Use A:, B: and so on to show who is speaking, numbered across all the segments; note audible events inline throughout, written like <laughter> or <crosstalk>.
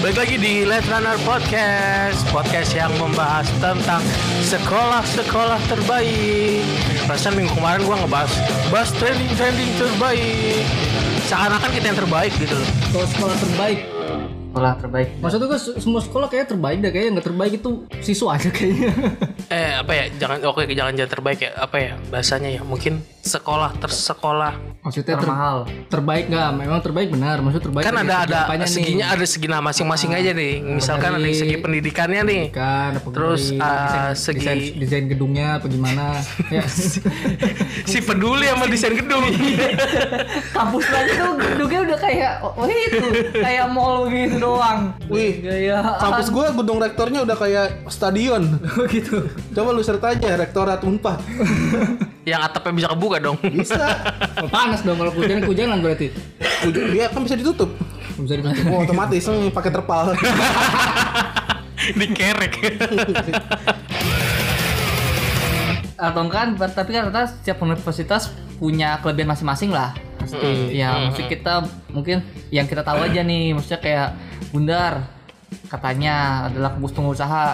A: Balik lagi di Late Runner Podcast Podcast yang membahas tentang sekolah-sekolah terbaik Perasaan minggu kemarin gue ngebahas Bahas trending-trending terbaik Seakan-akan kita yang terbaik gitu loh
B: Kalau sekolah terbaik
C: sekolah terbaik
B: Maksud gue se- semua sekolah kayaknya terbaik deh Kayaknya yang gak terbaik itu siswa aja
C: <laughs>
B: kayaknya
A: Eh apa ya, jangan oke jangan jangan terbaik ya Apa ya, bahasanya ya mungkin sekolah tersekolah
B: Maksudnya ter-
C: termahal
B: terbaik gak? Memang terbaik benar Maksudnya terbaik
A: Kan
B: dari
A: ada
B: segi
A: ada
B: apanya nih?
A: seginya ada segina masing-masing aja nih Misalkan ada yang segi pendidikannya nih
B: Kan, apa
A: Terus,
B: dari
A: ah,
B: desain-
A: segi-
B: desain, desain gedungnya apa
A: <laughs>
B: gimana ya.
A: Si peduli sama desain gedung <laughs>
C: kampus lagi tuh gedungnya udah kayak oh itu kayak mall gitu doang
D: Wih.
C: gaya
D: Kampus gue gedung rektornya udah kayak stadion.
B: gitu
D: Coba lu search aja rektorat Unpad.
A: Yang atapnya bisa kebuka dong
D: Bisa.
B: Oh, Panas dong kalau hujan hujanan berarti
D: Ujung- Dia kan bisa ditutup.
B: Bisa ditutup
D: Oh, otomatis hmm, pakai terpal.
A: Dikerek
C: atau kan ber- tapi kan ternyata setiap universitas punya kelebihan masing-masing lah pasti ya maksud kita mungkin yang kita tahu aja nih maksudnya kayak bundar katanya adalah kampus pengusaha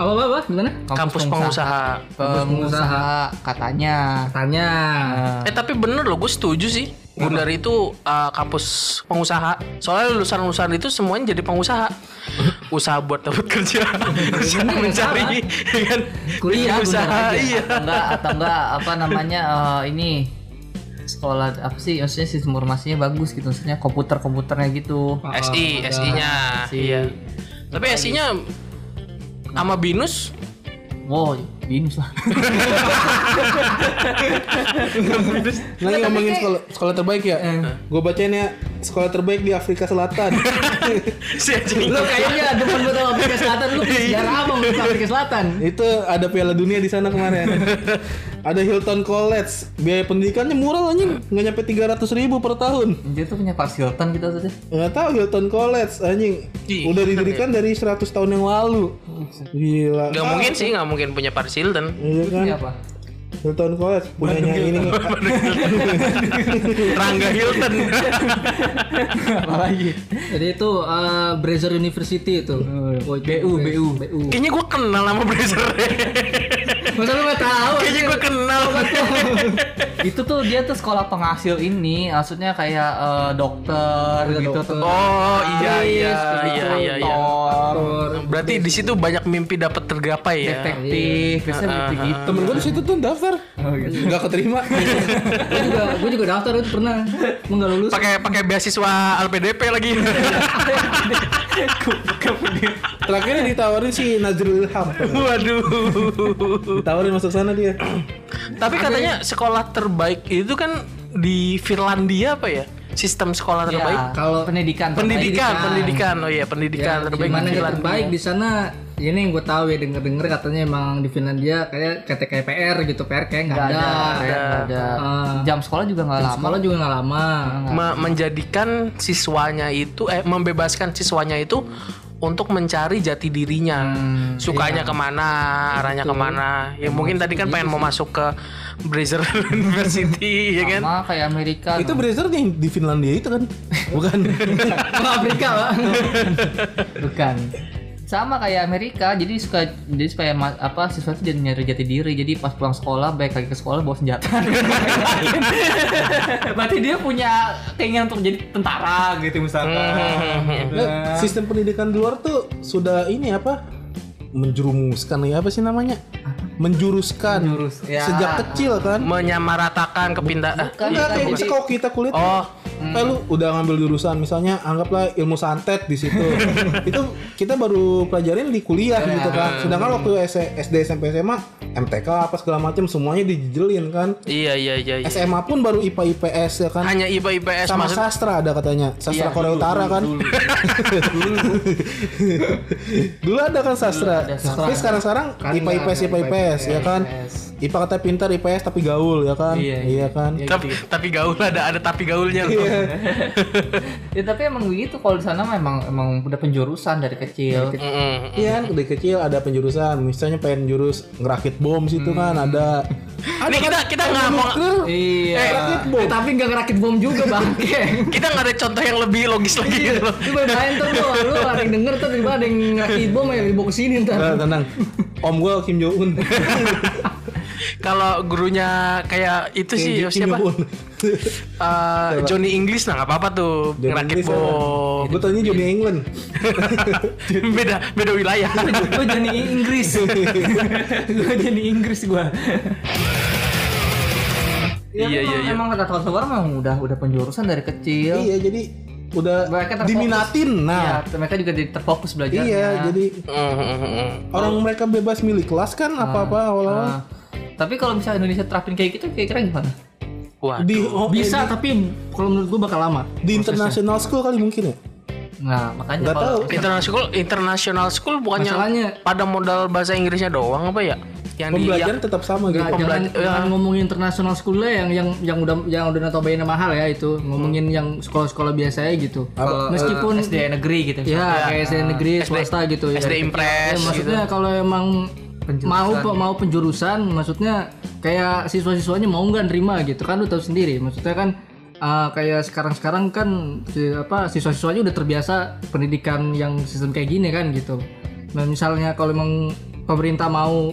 B: Apa apa apa gimana?
A: kampus pengusaha.
C: pengusaha, katanya
B: Tanya
A: Eh tapi bener loh, gue setuju sih. Gundar itu uh, kampus pengusaha. Soalnya lulusan-lulusan itu semuanya jadi pengusaha.
B: <laughs>
A: Usaha buat dapat kerja, usaha
B: bener,
A: mencari, <laughs> ya kan?
B: Kuliah,
A: Bikin usaha,
B: bener aja.
A: iya.
C: atau enggak atau enggak apa namanya eh, ini sekolah apa sih maksudnya sistem informasinya bagus gitu maksudnya komputer komputernya gitu
B: Ah,
A: SI, SI-nya, iya. Tapi SI-nya sama
B: <laughs>
A: binus
C: wow binus lah
D: Lagi ngomongin sekolah, sekolah terbaik ya. Gue bacain ya sekolah terbaik di Afrika Selatan.
A: si anjing.
B: Lo kayaknya demen banget sama Afrika Selatan Lo
C: Iya.
B: sejarah apa sama Afrika Selatan?
A: <laughs>
D: Itu ada Piala Dunia di sana kemarin. ada Hilton College. Biaya pendidikannya murah anjing, nggak nyampe 300 ribu per tahun.
C: dia tuh punya parsiltan gitu maksudnya
D: Nggak tahu Hilton College anjing.
A: Ih,
D: Udah didirikan dari 100 tahun yang lalu. Gila.
A: Gak mungkin sih, gak mungkin punya Paris
B: <laughs>
A: Hilton.
D: Iya kan?
C: Ini apa
D: Hilton College punyanya ini
A: Rangga
B: <laughs>
A: Hilton.
C: apa lagi
B: Jadi itu eh, Brazier University itu. Oh, itu
C: BU, BU.
B: BU.
A: Kayaknya gue kenal sama Bracer.
B: Masa lu gak tahu?
A: Kayaknya gue kenal.
C: <laughs> itu tuh dia tuh sekolah penghasil ini maksudnya kayak eh, dokter
B: Ada
C: gitu
B: dokter.
C: tuh
A: Oh iya iya
C: Dokter,
A: iya iya iya.
C: dokter,
A: Berarti di situ banyak mimpi dapat tergapai ya.
C: detektif biasanya begitu gitu
D: Temen gue di situ tuh daftar.
A: Oh, gitu.
D: Gak keterima.
B: Gue juga, gue juga daftar itu pernah. Gue nggak lulus.
A: Pakai pakai beasiswa LPDP lagi.
D: Terakhir ditawarin si Nazrul Ilham.
A: Waduh.
D: Ditawarin masuk sana dia.
A: Tapi katanya sekolah terbaik itu kan di Finlandia apa ya? Sistem sekolah
C: Ya,
A: terbaik.
B: Kalau-
C: pendidikan
A: Pendidikan,
B: pendidikan.
A: pendidikan. Oh iya, pendidikan
B: Ya,
A: terbaik
B: gimana
A: di
B: yang
A: Finlandia.
B: terbaik di sana ini yang gue tahu ya denger denger katanya emang di Finlandia kayak kayak PR gitu PR kayak nggak ada,
C: Nggak ada, kayak nggak ada.
B: Ah.
C: jam sekolah juga nggak lama
B: sekolah juga nggak lama
A: Me- menjadikan siswanya itu eh membebaskan siswanya itu untuk mencari jati dirinya sukanya kemana arahnya kemana ya mungkin tadi kan pengen mau masuk ke Brazier <laughs> University ya kan
C: sama kayak Amerika
D: Itu Brazzers yang di Finlandia itu kan?
C: <laughs>
D: Bukan.
B: Wah, Afrika pak
C: bukan sama kayak Amerika jadi suka jadi supaya ma- apa siswa itu jadi nyari jati diri jadi pas pulang sekolah baik lagi ke sekolah bawa senjata <laughs> berarti dia punya keinginan untuk jadi tentara gitu
B: <laughs>
C: misalkan
D: Nah, sistem pendidikan di luar tuh sudah ini apa? Menjerumuskan ya apa sih namanya? Menjuruskan.
C: Menjurus, ya.
D: Sejak kecil kan?
A: <laughs> menyamaratakan kepindah ah,
D: Enggak
C: Bukan,
D: kayak
C: bukan.
D: bisa kalau kita kulit
A: oh
D: Eh lu udah ngambil jurusan misalnya anggaplah ilmu santet di situ. itu kita baru pelajarin di kuliah gitu kan. Sedangkan waktu S- SD SMP SMA MTK apa segala macam semuanya dijejelin kan.
A: iya iya iya, iya.
D: SMA pun baru IPA IPS ya kan.
A: hanya IPA IPS
D: Sama
A: maksud
D: sastra ada katanya. Sastra Korea Utara kan. Dulu, <laughs> ada kan sastra. Tapi sekarang-sekarang IPA IPS IPA IPS ya kan. IPA kata pintar IPS tapi gaul ya kan
C: Iya,
D: kan
A: tapi, tapi gaul ada ada tapi gaulnya loh.
D: Iya.
C: ya tapi emang begitu kalau di sana memang emang udah penjurusan dari kecil
A: Mm-mm.
D: Iya kan dari kecil ada penjurusan, misalnya pengen jurus ngerakit bom situ kan ada.
A: Ini kita kita Hmm. Eh, nggak mau
C: iya
D: Ngerakit bom.
B: Eh, tapi nggak ngerakit bom juga bangke.
A: kita nggak ada contoh yang lebih logis lagi gitu loh.
B: Lu bayangin tuh lu, lu ada yang denger tuh tiba ada yang ngerakit bom ya dibawa ke sini ntar.
D: Nah, tenang. Om gue Kim Jong
A: <laughs>
D: Un.
A: Kalau gurunya kayak itu sih Iya, siapa?
D: Jong Un.
A: Eh, Johnny English nah nggak apa-apa tuh ngerakit
D: kan
A: bom. Iya.
D: Gue tanya Johnny England.
A: <laughs> beda beda wilayah.
B: <laughs>
C: gue jadi Inggris gue jadi Inggris gue
A: Iya, iya,
C: emang,
A: iya.
C: emang kata kata orang memang udah udah penjurusan dari kecil
D: iya jadi udah
C: mereka terfokus.
D: diminatin.
C: Iya,
D: Nah,
C: mereka juga di- terfokus belajar
D: iya jadi orang
A: Oh.
D: mereka bebas milih kelas kan
A: Ah.
D: apa-apa awal-awal.
C: tapi kalau misalnya Indonesia terapin kayak gitu kira-kira gimana
A: <laughs> Wah.
D: Di oh,
B: Bisa tapi kalau menurut gua bakal lama.
D: di international school kali mungkin ya.
C: nah makanya
D: Nggak
C: kalau
D: tahu.
A: International school, international school bukannya
B: Masalahnya
A: pada modal bahasa Inggrisnya doang apa ya? Yang Iya, di
D: Pembelajaran tetap sama gitu.
B: Nah, jangan,
A: pembelajar-
B: jangan ngomongin international school lah yang yang yang udah yang udah notabene mahal ya itu ngomongin yang sekolah-sekolah biasanya gitu meskipun
C: SD eh, negeri gitu
B: ya kayak SD negeri swasta gitu ya.
A: SD
B: Ya,
A: Impress gitu.
B: maksudnya kalau emang mau mau penjurusan maksudnya kayak siswa-siswanya mau nggak nerima gitu kan lu tahu sendiri maksudnya kan ah, kayak sekarang-sekarang kan si- apa siswa-siswanya udah terbiasa pendidikan yang sistem kayak gini kan gitu nah misalnya kalau emang pemerintah mau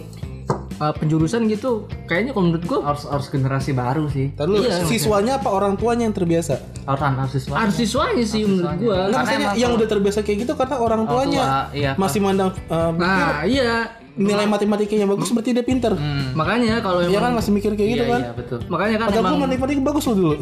B: ah, penjurusan gitu kayaknya kalau menurut gua
C: harus harus generasi baru sih
D: Ntar
A: iya,
D: dulu, siswanya apa orang tuanya yang terbiasa?
C: harus harus siswa
B: harus siswanya sih menurut gua
D: Enggak,
C: Karena
D: maksudnya
C: emang
D: yang udah terbiasa kayak gitu karena orang tuanya
C: tua, iya.
D: masih mandang eh,
B: nah iya
D: nilai matematikanya bagus berarti dia pinter.
B: makanya kalau
D: Iya
B: emang
D: kan masih mikir kayak gitu kan.
C: Hmm. iya betul
B: makanya kan
D: Padahal
B: emang
D: gue matematika bagus loh dulu.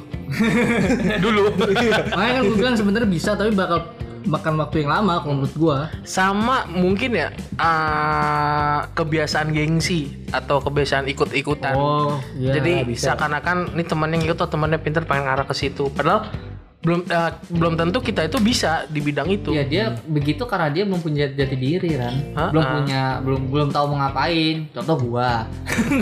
A: Dulu
B: makanya kan gue bilang sebenarnya bisa tapi bakal makan waktu yang lama kalau menurut gua
A: <laughs> sama mungkin ya eh, kebiasaan gengsi atau kebiasaan ikut-ikutan.
B: oh iya
A: Jadi seakan-akan ini temannya ngikut atau temannya pinter pengen ngarah ke situ. Padahal belum eh, belum tentu kita itu bisa di bidang itu.
C: Iya dia begitu karena dia belum punya jati diri kan,
A: Ha-ha.
C: belum punya belum belum tahu mau ngapain. Contoh gua,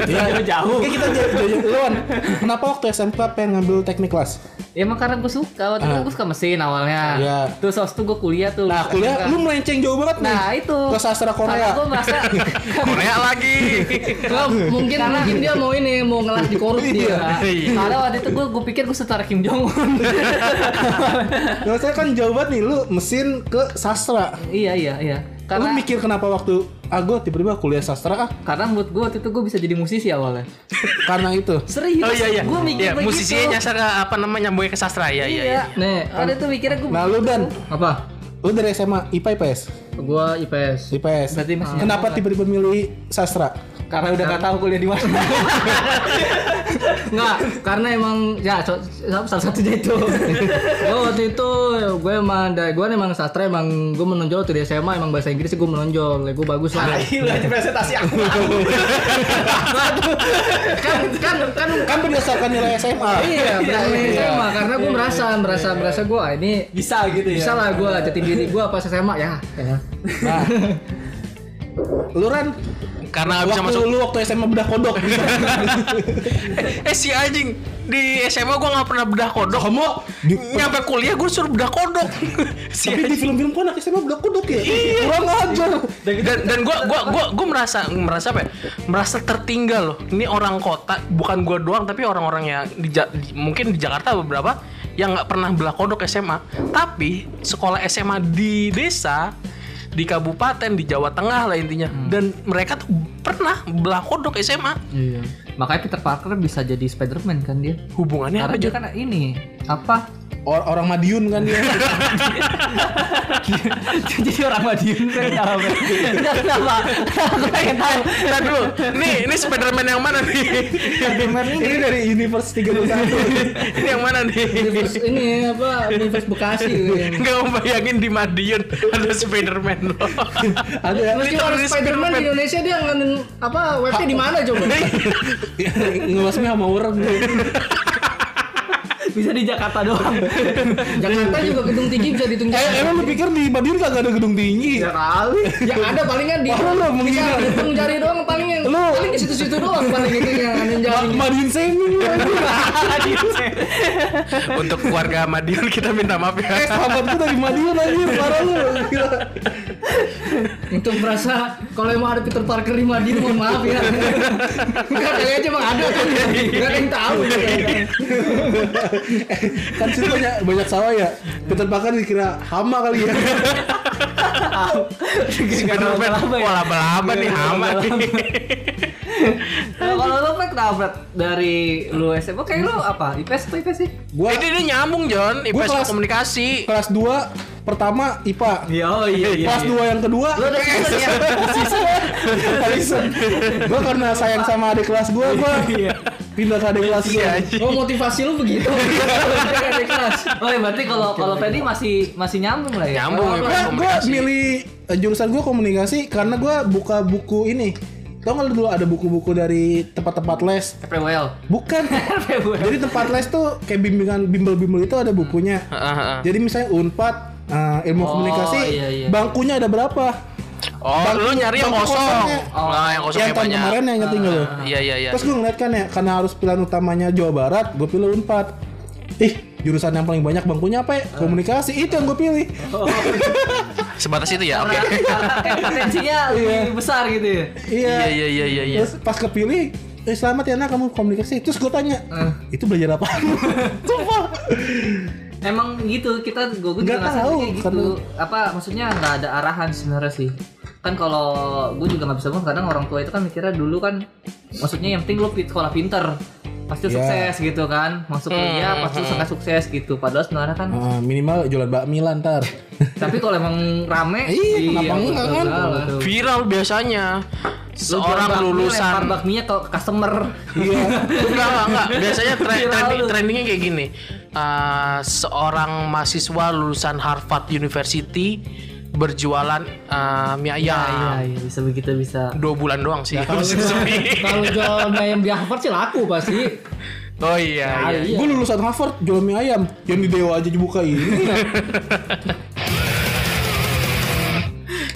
C: ya jauh.
D: Kayak kita jauh jauh
C: <laughs>
D: duluan. Kenapa waktu SMK pengen ngambil teknik kelas?
C: Ya emang karena gua suka, waktu itu gua suka mesin awalnya.
D: Ah. Iya.
C: Terus waktu itu gua kuliah tuh.
D: Nah kuliah lu melenceng jauh banget nih.
C: Nah itu.
D: Ke sastra
C: Karena
D: <laughs> Korea.
C: gua merasa
A: Korea lagi.
B: Kalau mungkin mungkin dia mau ini mau ngelas di korup dia Kak.
A: Iya.
C: karena waktu itu gua, gua pikir gua setara Kim Jong Un.
D: Nah, saya kan jauh banget nih lu mesin ke sastra.
C: iya iya iya.
D: Lu
C: Karena
D: mikir kenapa waktu ah gua tiba-tiba kuliah sastra ah
C: karena menurut gua waktu itu gua bisa jadi musisi awalnya.
D: karena itu.
C: Serius.
A: Oh iya iya.
C: Gua mikir
A: Iya,
C: begitu.
A: musisinya nyasar ke apa namanya nyambungnya ke sastra. Iya iya iya.
C: Iya.
B: Nih,
C: Waktu itu mikirnya gua
D: Nah lu dan
B: apa
D: lu dari SMA IPA IPS.
B: gua IPS
D: IPS.
C: Berarti masih
D: Kenapa tiba-tiba milih sastra?
C: karena udah gak tahu kuliah di mana.
B: Enggak, karena emang ya so- so- salah satunya itu. gue waktu itu gue emang dari gue emang sastra emang gue menonjol waktu di SMA emang bahasa Inggris gue menonjol, gue bagus lah.
D: presentasi aku.
B: <laughs> kan kan kan
D: kan berdasarkan nilai SMA.
B: iya, berasa SMA karena gue merasa merasa merasa gue ini
C: bisa gitu ya.
B: bisa lah gue jati diri gue pas SMA ya.
D: Nah, lu Ran,
A: Karena nggak bisa
D: waktu
A: masuk.
D: lu waktu SMA bedah <laughs> kodok.
A: Eh si anjing di SMA gua nggak pernah bedah kodok.
D: Kamu di,
A: Nyampe kuliah gua suruh bedah
D: <laughs>
A: kodok. si
D: tapi di film-film kok anak SMA bedah kodok ya? Kurang ajar.
A: dan dan gua gua gua gua merasa merasa apa ya? merasa tertinggal loh ini orang kota bukan gua doang tapi orang-orang yang di, Ja- di- mungkin di Jakarta beberapa yang nggak pernah belah kodok SMA tapi sekolah SMA di desa di kabupaten di Jawa Tengah lah intinya dan mereka tuh pernah belah kodok SMA
C: Iya. <laughs> Makanya Peter Parker bisa jadi Spider-Man kan dia.
A: hubungannya
C: Karena
A: apa
C: dia
A: Jun?
C: kan ini apa?
D: Or- orang Madiun kan <laughs> dia.
C: jadi orang Madiun kan ya. Kenapa? Aku pengen tahu.
A: Ntar dulu, nih ini Spiderman yang mana nih?
D: Ini dari Universe 31.
A: ini yang mana nih?
B: Universitas ini apa Universitas
D: <laughs>
B: Bekasi. gitu.
A: Nggak mau bayangin di Madiun ada Spiderman loh.
D: <laughs>
A: <laughs>
D: Ada ya?
B: Meski
A: Teroris
B: orang Spider-Man di
A: Spider-Man.
B: Indonesia dia ngenin apa
D: <laughs>
B: webnya di mana coba?
D: Ngelasnya sama orang.
C: bisa di Jakarta doang.
B: Jakarta juga gedung tinggi bisa ditunjukkan.
D: Eh, emang lu pikir di Madiun kagak ada gedung tinggi?
B: kali. Yang ya ada palingan di
D: Baru lu mengira.
B: Hitung jari doang paling yang
D: Lu-
B: paling di situ-situ doang paling itu yang ada jari.
D: Madiun Semi. <laughs>
A: <laughs> Untuk keluarga Madiun kita minta maaf
D: Eh,
A: ya.
D: sahabatku dari Madiun anjir, parah lu. Gila.
B: Untuk merasa kalau emang ada Peter Parker di Madiun mohon maaf
D: <laughs>
B: ya. Enggak kali aja emang ada kan. Enggak ada yang tahu.
D: Kan situ banyak banyak sawah ya. Peter Parker dikira hama <laughs> kali ya.
A: Spiderman
D: ya.
A: wah laba-laba nih hama nih.
C: Nah, Kalau lu Pat, kenapa Pat? dari lu SMA kayak lu apa? IPS atau IPS sih?
D: Gua
A: Ini ini nyambung John, IPS
D: kelas-
A: komunikasi.
D: kelas 2 pertama IPA.
C: Iya, oh iya
D: Kelas 2 yang kedua
A: ya?
D: <laughs> Alison. Gua karena sayang sama adik kelas gua,
C: <laughs>
D: gua
C: Iya.
D: pindah ke adik kelas
A: Iya,
D: gua.
B: Oh motivasi lu begitu. Enggak ada kelas.
C: Oh iya, berarti kalau kalau Fedi masih masih nyambung lah ya.
A: Nyambung
D: Gua,
A: IPS
D: gua
A: komunikasi.
D: milih eh, jurusan gua komunikasi karena gua buka buku ini. Tau nggak lu dulu ada buku-buku dari tempat-tempat les?
C: PWL. <laughs>
D: Bukan. Jadi tempat les tuh kayak bimbingan bimbel-bimbel itu ada bukunya.
A: Heeh, heeh.
D: Jadi misalnya Unpad eh, ilmu
C: Oh,
D: komunikasi,
C: iya, iya.
D: bangkunya ada berapa?
A: Oh,
D: Bangku-
A: lu nyari yang
D: bangku
A: kosong.
D: kosongnya.
A: Nah, yang kosong yang
D: yang tahun
A: banyak.
D: kemarin yang ketinggal loh.
A: Iya, iya, iya.
D: Terus gue ngeliat kan ya, karena harus pilihan utamanya Jawa Barat, gue pilih Unpad. Ih, jurusan yang paling banyak bangkunya apa ya? Komunikasi, itu yang gue pilih.
A: Sebatas itu ya. Oke.
C: Kayak Potensinya lebih besar gitu ya.
A: Iya,
D: Iya.
A: iya, iya, iya, iya.
D: Terus pas kepilih, eh selamat ya nak kamu komunikasi. Terus gue tanya, itu belajar apa? Sumpah.
C: Emang gitu kita gue gue juga
D: Nggak
C: ngerasa
D: tahu,
C: kayak gitu.
D: karena-
C: Apa maksudnya nggak ada arahan sebenarnya sih. Kan kalau gue juga nggak bisa bohong kadang orang tua itu kan mikirnya dulu kan maksudnya yang penting lu pit- sekolah pinter pasti lu
D: Iya.
C: sukses gitu kan masuk kuliah pasti lu sangat sukses gitu padahal sebenarnya
D: <laughs>
C: kan
D: Ah, minimal jualan bakmi lah ntar.
C: tapi kalau emang rame
D: Iya, kenapa
C: betul,
D: enggak kan?
C: betul, betul.
A: Viral biasanya.
C: Lu jual
A: Seorang
C: bakmi, lempar
A: lulusan
C: bakminya ke
D: <laughs>
C: customer
D: Iya.
A: enggak enggak
C: <laughs>
A: enggak. biasanya tra-
C: Viral
A: trending-
C: lu.
A: trendingnya kayak gini Eh, seorang mahasiswa lulusan Harvard University berjualan eh, mie ayam
C: iya bisa begitu bisa
A: dua bulan doang sih habis itu <laughs> sepi.
B: Kalau jual ayam di Harvard sih laku pasti.
A: oh iya iya
B: Iya.
D: Gue lulusan Harvard, jual mie ayam. Yang di Dewa aja dibuka ini.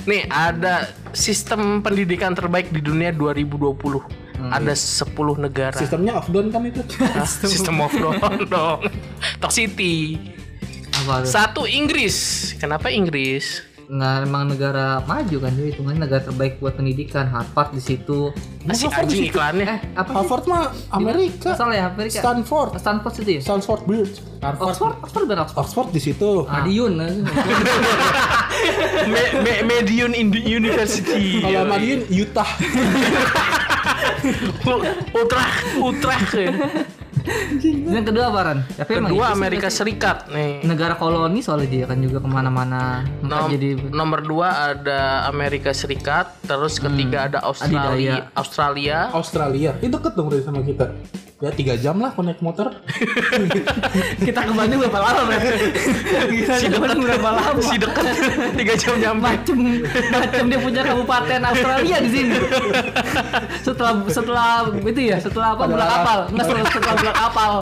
A: nih ada sistem pendidikan terbaik di dunia 2020
C: Hmm.
A: ada 10 negara
D: Sistemnya offdown kan itu.
A: Hah? sistem of down <laughs> dong Toxicity
C: apa tuh?
A: satu Inggris kenapa Inggris
C: Nah, emang negara maju kan jadi hitungannya negara terbaik buat pendidikan Harvard di situ.
A: si anjing iklannya
C: Eh, apa sih?
D: Harvard mah Amerika.
C: Asal ya Amerika.
D: Stanford.
C: Stanford itu ya?
D: Stanford Bridge.
C: Oxford, Oxford bukan Oxford.
D: Oxford di situ.
C: Ah,
B: Madiun.
A: Me- Me- Medion Indi- University
D: Kalau Madiun Utah.
A: Ultra Ultra
C: <laughs> Yang kedua apa Ran? Tapi
A: eh.
C: emang
A: kedua
C: itu sih
A: Amerika Serikat nih
C: negara koloni soalnya dia kan juga kemana-mana. Maka
A: Nom-
C: Nah, jadi
A: nomor dua ada Amerika Serikat terus
C: Hmm.
A: ketiga ada Australia Australia
D: Australia. Itu deket dong dari sama kita. Ya tiga jam lah konek motor.
C: kita ke Bandung berapa lama ya? <laughs> kita ke Bandung berapa lama?
A: si dekat tiga jam nyampe
C: macem macem dia punya kabupaten Australia di sini <laughs> setelah setelah itu ya setelah apa bulan kapal enggak setelah, setelah bulan <laughs> kapal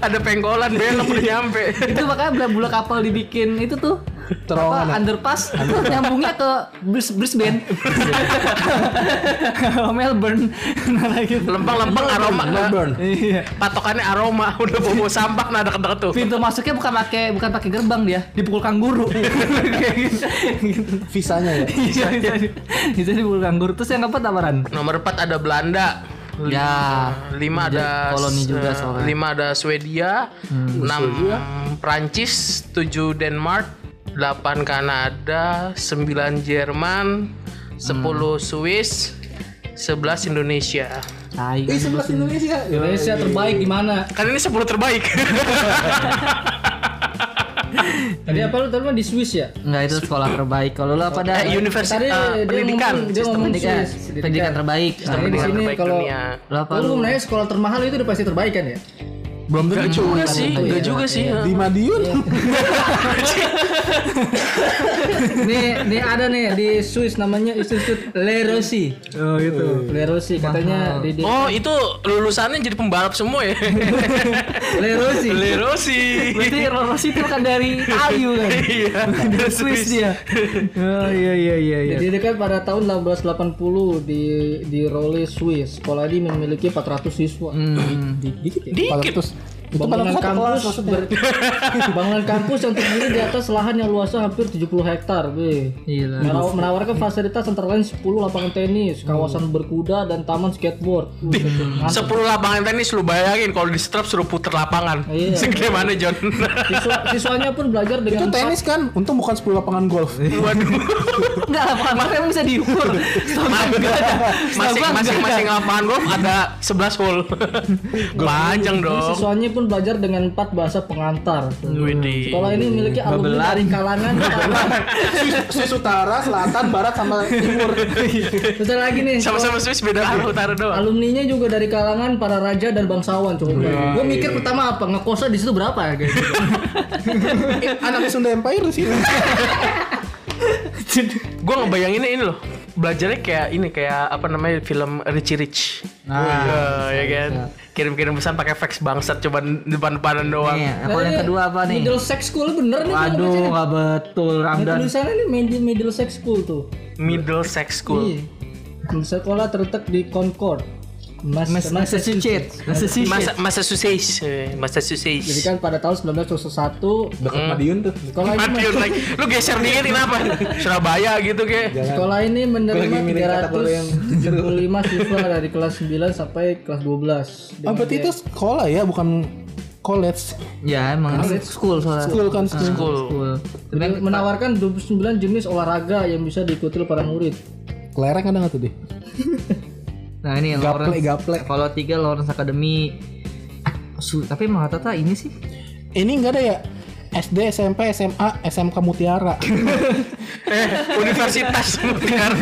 A: ada pengkolan belok udah
C: <laughs>
A: nyampe
C: itu makanya bulan bulan kapal dibikin itu tuh
D: Terowongan ya?
C: apa, underpass itu nyambungnya ke Bris- <laughs> Brisbane Melbourne <laughs> nah gitu
A: lempeng-lempeng aroma
D: Melbourne.
C: iya
A: patokannya aroma udah bobo sampah nah deket-deket tuh
C: pintu masuknya bukan pakai bukan pakai gerbang dia dipukul kanguru Kayak gitu
D: Visanya ya.
C: Iya, bisa di- bisa dipukul kanguru terus yang keempat apa Ran?
A: nomor 4 ada Belanda
C: ya
A: lima
C: Jadi
A: ada
C: koloni
A: eh,
C: juga soalnya.
A: lima ada Swedia enam Prancis tujuh Denmark delapan Kanada sembilan Jerman sepuluh Swiss sebelas Indonesia
C: <laughs> Tai.
D: Ih sebelas Indonesia.
B: Indonesia terbaik di mana?
A: kan ini sepuluh terbaik
B: Tadi apa lu tadi mah di Swiss ya?
C: Enggak itu sekolah terbaik. Kalau lu apa
A: <laughs>
C: dah?
A: Eh, universitas
B: Tadi
A: eh,
B: dia
A: pendidikan
B: ngomong- dia
A: sistem
B: ngomong
A: pendidikan
C: pendidikan,
B: Swiss.
C: pendidikan terbaik.
B: Nah,
C: Nah,
B: ini
A: pendidikan
B: sini
A: terbaik
B: kalau
A: dunia.
C: Lu apa
B: Lu
C: lu?
B: menanya sekolah termahal itu udah pasti terbaik kan ya?
D: Belum
A: Gak
D: tentu.
A: juga sih,
B: tentu
A: gak
B: ya.
A: juga sih.
D: Di Madiun.
B: <laughs> nih nih ada nih di Swiss namanya Institut Lerosi
D: Oh gitu.
B: Lerosi katanya di, di
A: Oh itu lulusannya jadi pembalap semua ya.
B: Lerosi
A: Lerosi.
C: Berarti Rolos itu kan <laughs> dari Ayu kan.
A: <laughs> Iya.
C: Dari Swiss dia. Oh iya iya iya iya.
B: Didirikan pada tahun 1880 di di Role Swiss. Sekolah ini memiliki 400 siswa.
D: Dikit ya?
A: Dikit.
D: 400. Itu
B: Bangunan
D: satu kelas
B: kampus
D: maksudnya.
B: ber- <laughs> bangunan kampus yang terdiri di atas lahan yang luasnya hampir 70 hektar. weh.
C: Gila.
B: Meraw- Menawarkan fasilitas antara lain 10 lapangan tenis, kawasan berkuda dan taman skateboard.
A: Sepuluh lapangan tenis lu bayangin kalau di strap suruh puter lapangan.
B: Iya.
A: <laughs> Segede mana
B: <laughs>
A: John?
B: Siswa- siswanya pun belajar
D: Itu
B: dengan
D: tenis kan? Untung bukan 10 lapangan golf.
A: Waduh.
C: Enggak lah, bukan makanya bisa <laughs> diukur.
A: Masing- Masing-masing lapangan golf ada 11
B: <laughs>
A: hole. Panjang dong.
B: siswanya pun belajar dengan empat bahasa pengantar.
A: Widih.
B: Sekolah ini memiliki alumni dari kalangan
D: Swiss utara, selatan, barat sama timur.
B: Bentar lagi nih.
A: Sama-sama Swiss beda arah utara doang.
B: alumninya juga dari kalangan para raja dan bangsawan coba gue mikir pertama apa ngekosnya di situ berapa ya kayak gitu.
D: Anak Sunda Empire sih.
A: Gue ngebayanginnya ini loh. Belajarnya kayak ini kayak apa namanya film Richie Rich. Nah, ya kan. Kirim-kirim pesan pakai fax bangsat coba depan-depanan doang.
B: Iya.
C: Nih, aku yang kedua apa nih?
B: middle sex school
C: kan
B: bener nih kalau
C: Waduh,
B: bacanya.
C: nggak betul
B: Ada
C: Ramdan.
B: tulisannya nih middle, middle sex school tuh
A: Middle sex school.
B: Iya. sekolah terletak di Concord Mas,
C: Massachusetts. Massachusetts.
A: Masa Massachusetts, eh,
B: jadi
A: Massachusetts.
B: kan pada tahun 1921
D: Dekat Madiun tuh.
B: sekolah ini
A: Madiun lagi. Lu geser dikit kenapa? Iya. Surabaya gitu kayak.
B: Sekolah ini menerima
D: Gua lagi milih kategori yang
B: 375 siswa dari kelas 9 sampai kelas 12.
D: Ah, berarti itu sekolah ya, bukan college.
C: Ya emang school soalnya.
D: School kan school.
A: Cool.
C: School.
B: Dengan menawarkan 29 jenis olahraga yang bisa diikuti oleh para murid.
D: Kelereng ada nggak tuh deh?
C: Nah ini yang
D: Gaple,
C: Lawrence.
D: gaple.
C: Kalau tiga Lawrence Academy. Ah, Su- tapi emang Tata ini sih
D: Ini nggak ada ya? SD, SMP, SMA, SMK
A: <laughs>
D: Mutiara.
A: Eh, universitas mutiara.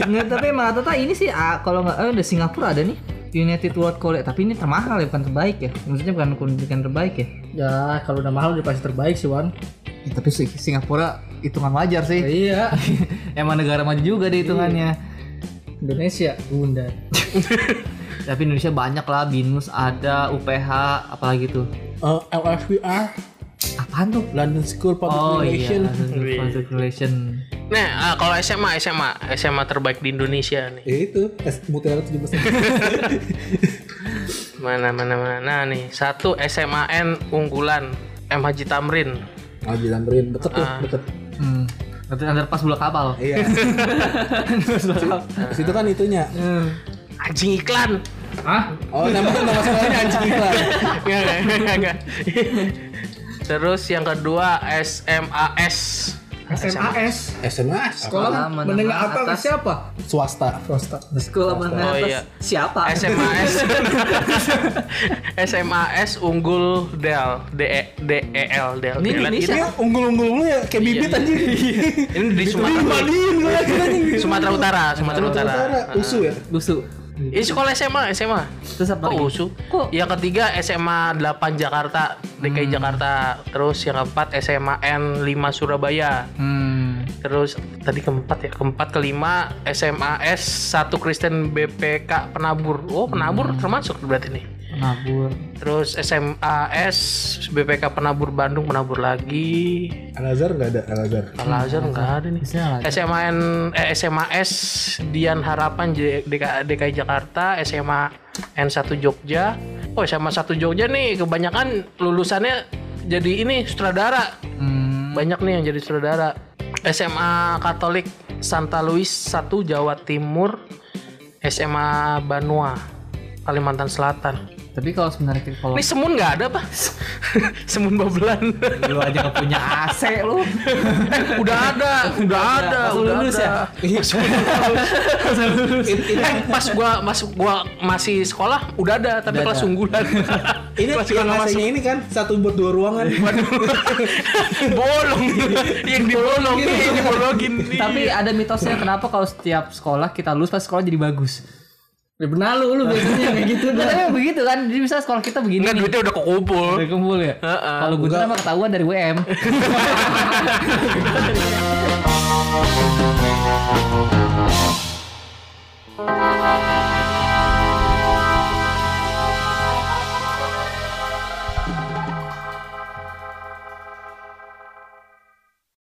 C: Nggak, tapi emang Tata ini sih ah, kalau nggak eh, ada Singapura ada nih United World College tapi ini termahal ya bukan terbaik ya maksudnya bukan pendidikan terbaik ya
B: Ya, kalau udah mahal udah pasti terbaik sih, Wan.
C: Ya, tapi sih Singapura hitungan wajar
B: Ya,
C: sih.
B: iya,
C: <laughs> Emang negara maju juga deh hitungannya.
B: Indonesia bunda.
C: Tapi Indonesia banyak lah, BINUS ada, UPH, apalagi tuh.
D: Eh, LFPR,
C: Apaan tuh?
D: London School Public
C: Oh iya,
D: Relation.
A: Wih.
C: public relation.
A: Nah, ah, kalau SMA, SMA, SMA terbaik di Indonesia nih.
D: Ya itu, S Mutiara 17.
A: Mana mana mana nih. Satu SMAN unggulan M Haji Tamrin.
D: Ah, dilamperin deket tuh, deket.
C: Hmm. Nanti underpass bola kapal.
D: Iya. Di situ kan itunya.
A: Anjing iklan. <laughs>
C: Hah?
D: Oh, namanya nama sekolahnya anjing iklan.
A: Nggak, nggak, nggak, nggak. Terus yang kedua SMAS.
B: SMAS. Sekolah
D: SMA,
C: Sekolah menengah
B: menengah apa
C: atas.
B: siapa?
D: swasta.
B: Swasta.
C: Sekolah menengah
A: Oh,
C: atas
A: iya.
C: siapa?
A: SMAS. SMAS unggul Del D E D E L Del.
C: Ini
A: Del-
C: Indonesia.
D: Dia unggul-unggul mulu ya, kayak bibit anjing.
A: Ini di Sumatera.
D: Madiun gue lagi anjing.
A: Sumatera Utara, Sumatera Utara.
D: Utara, usu ya.
C: Busu.
A: Ini sekolah SMA, SMA.
C: Terus apa
A: Kok
C: lagi?
A: USU? Yang ketiga SMA 8 Jakarta, DKI Jakarta. Terus yang keempat SMA N 5 Surabaya.
C: Hmm.
A: Terus tadi keempat ya, keempat kelima SMA S 1 Kristen BPK Penabur. Oh, Penabur termasuk berarti nih.
C: Nabur.
A: Terus SMA S BPK Penabur Bandung Penabur lagi.
D: Al-Azhar nggak ada, Al-Azhar.
A: Al Azhar enggak ada nih.
C: Biasanya Iya, lah.
A: SMA N eh, SMA S Dian Harapan J- DK, DKI Jakarta, SMA N1 Jogja. Oh, SMA 1 Jogja nih kebanyakan lulusannya jadi ini sutradara.
C: Hmm.
A: Banyak nih yang jadi sutradara. SMA Katolik Santa Louis 1 Jawa Timur, SMA Banua Kalimantan Selatan.
C: Tapi kalau sebenarnya kita kalau
A: Ini Semun nggak ada, Pak? <laughs> semun Babelan. Eh,
C: lu aja nggak punya AC lu.
A: udah ada, udah ada,
C: Pas
A: udah
C: lulus
A: ada. <laughs> Pas lulus. Eh, pas gua masuk gua masih sekolah udah ada tapi kelas unggulan.
D: Ini
A: kelas juga
D: yang
A: nggak masuk.
D: AC-nya ini kan satu buat
A: <laughs>
D: dua ruangan.
A: bolong yang dibolong yang dibolongin nih.
C: Iya. Tapi ada mitosnya kenapa kalau setiap sekolah kita lulus pasti sekolah jadi bagus.
B: Ya benar lu, lu biasanya kayak gitu dah.
C: Tapi emang begitu kan, jadi misalnya sekolah kita begini.
A: Enggak
C: nih.
A: duitnya udah kekumpul.
C: Dari kumpul ya.
A: Heeh.
C: Kalau gue mah ketahuan dari WM.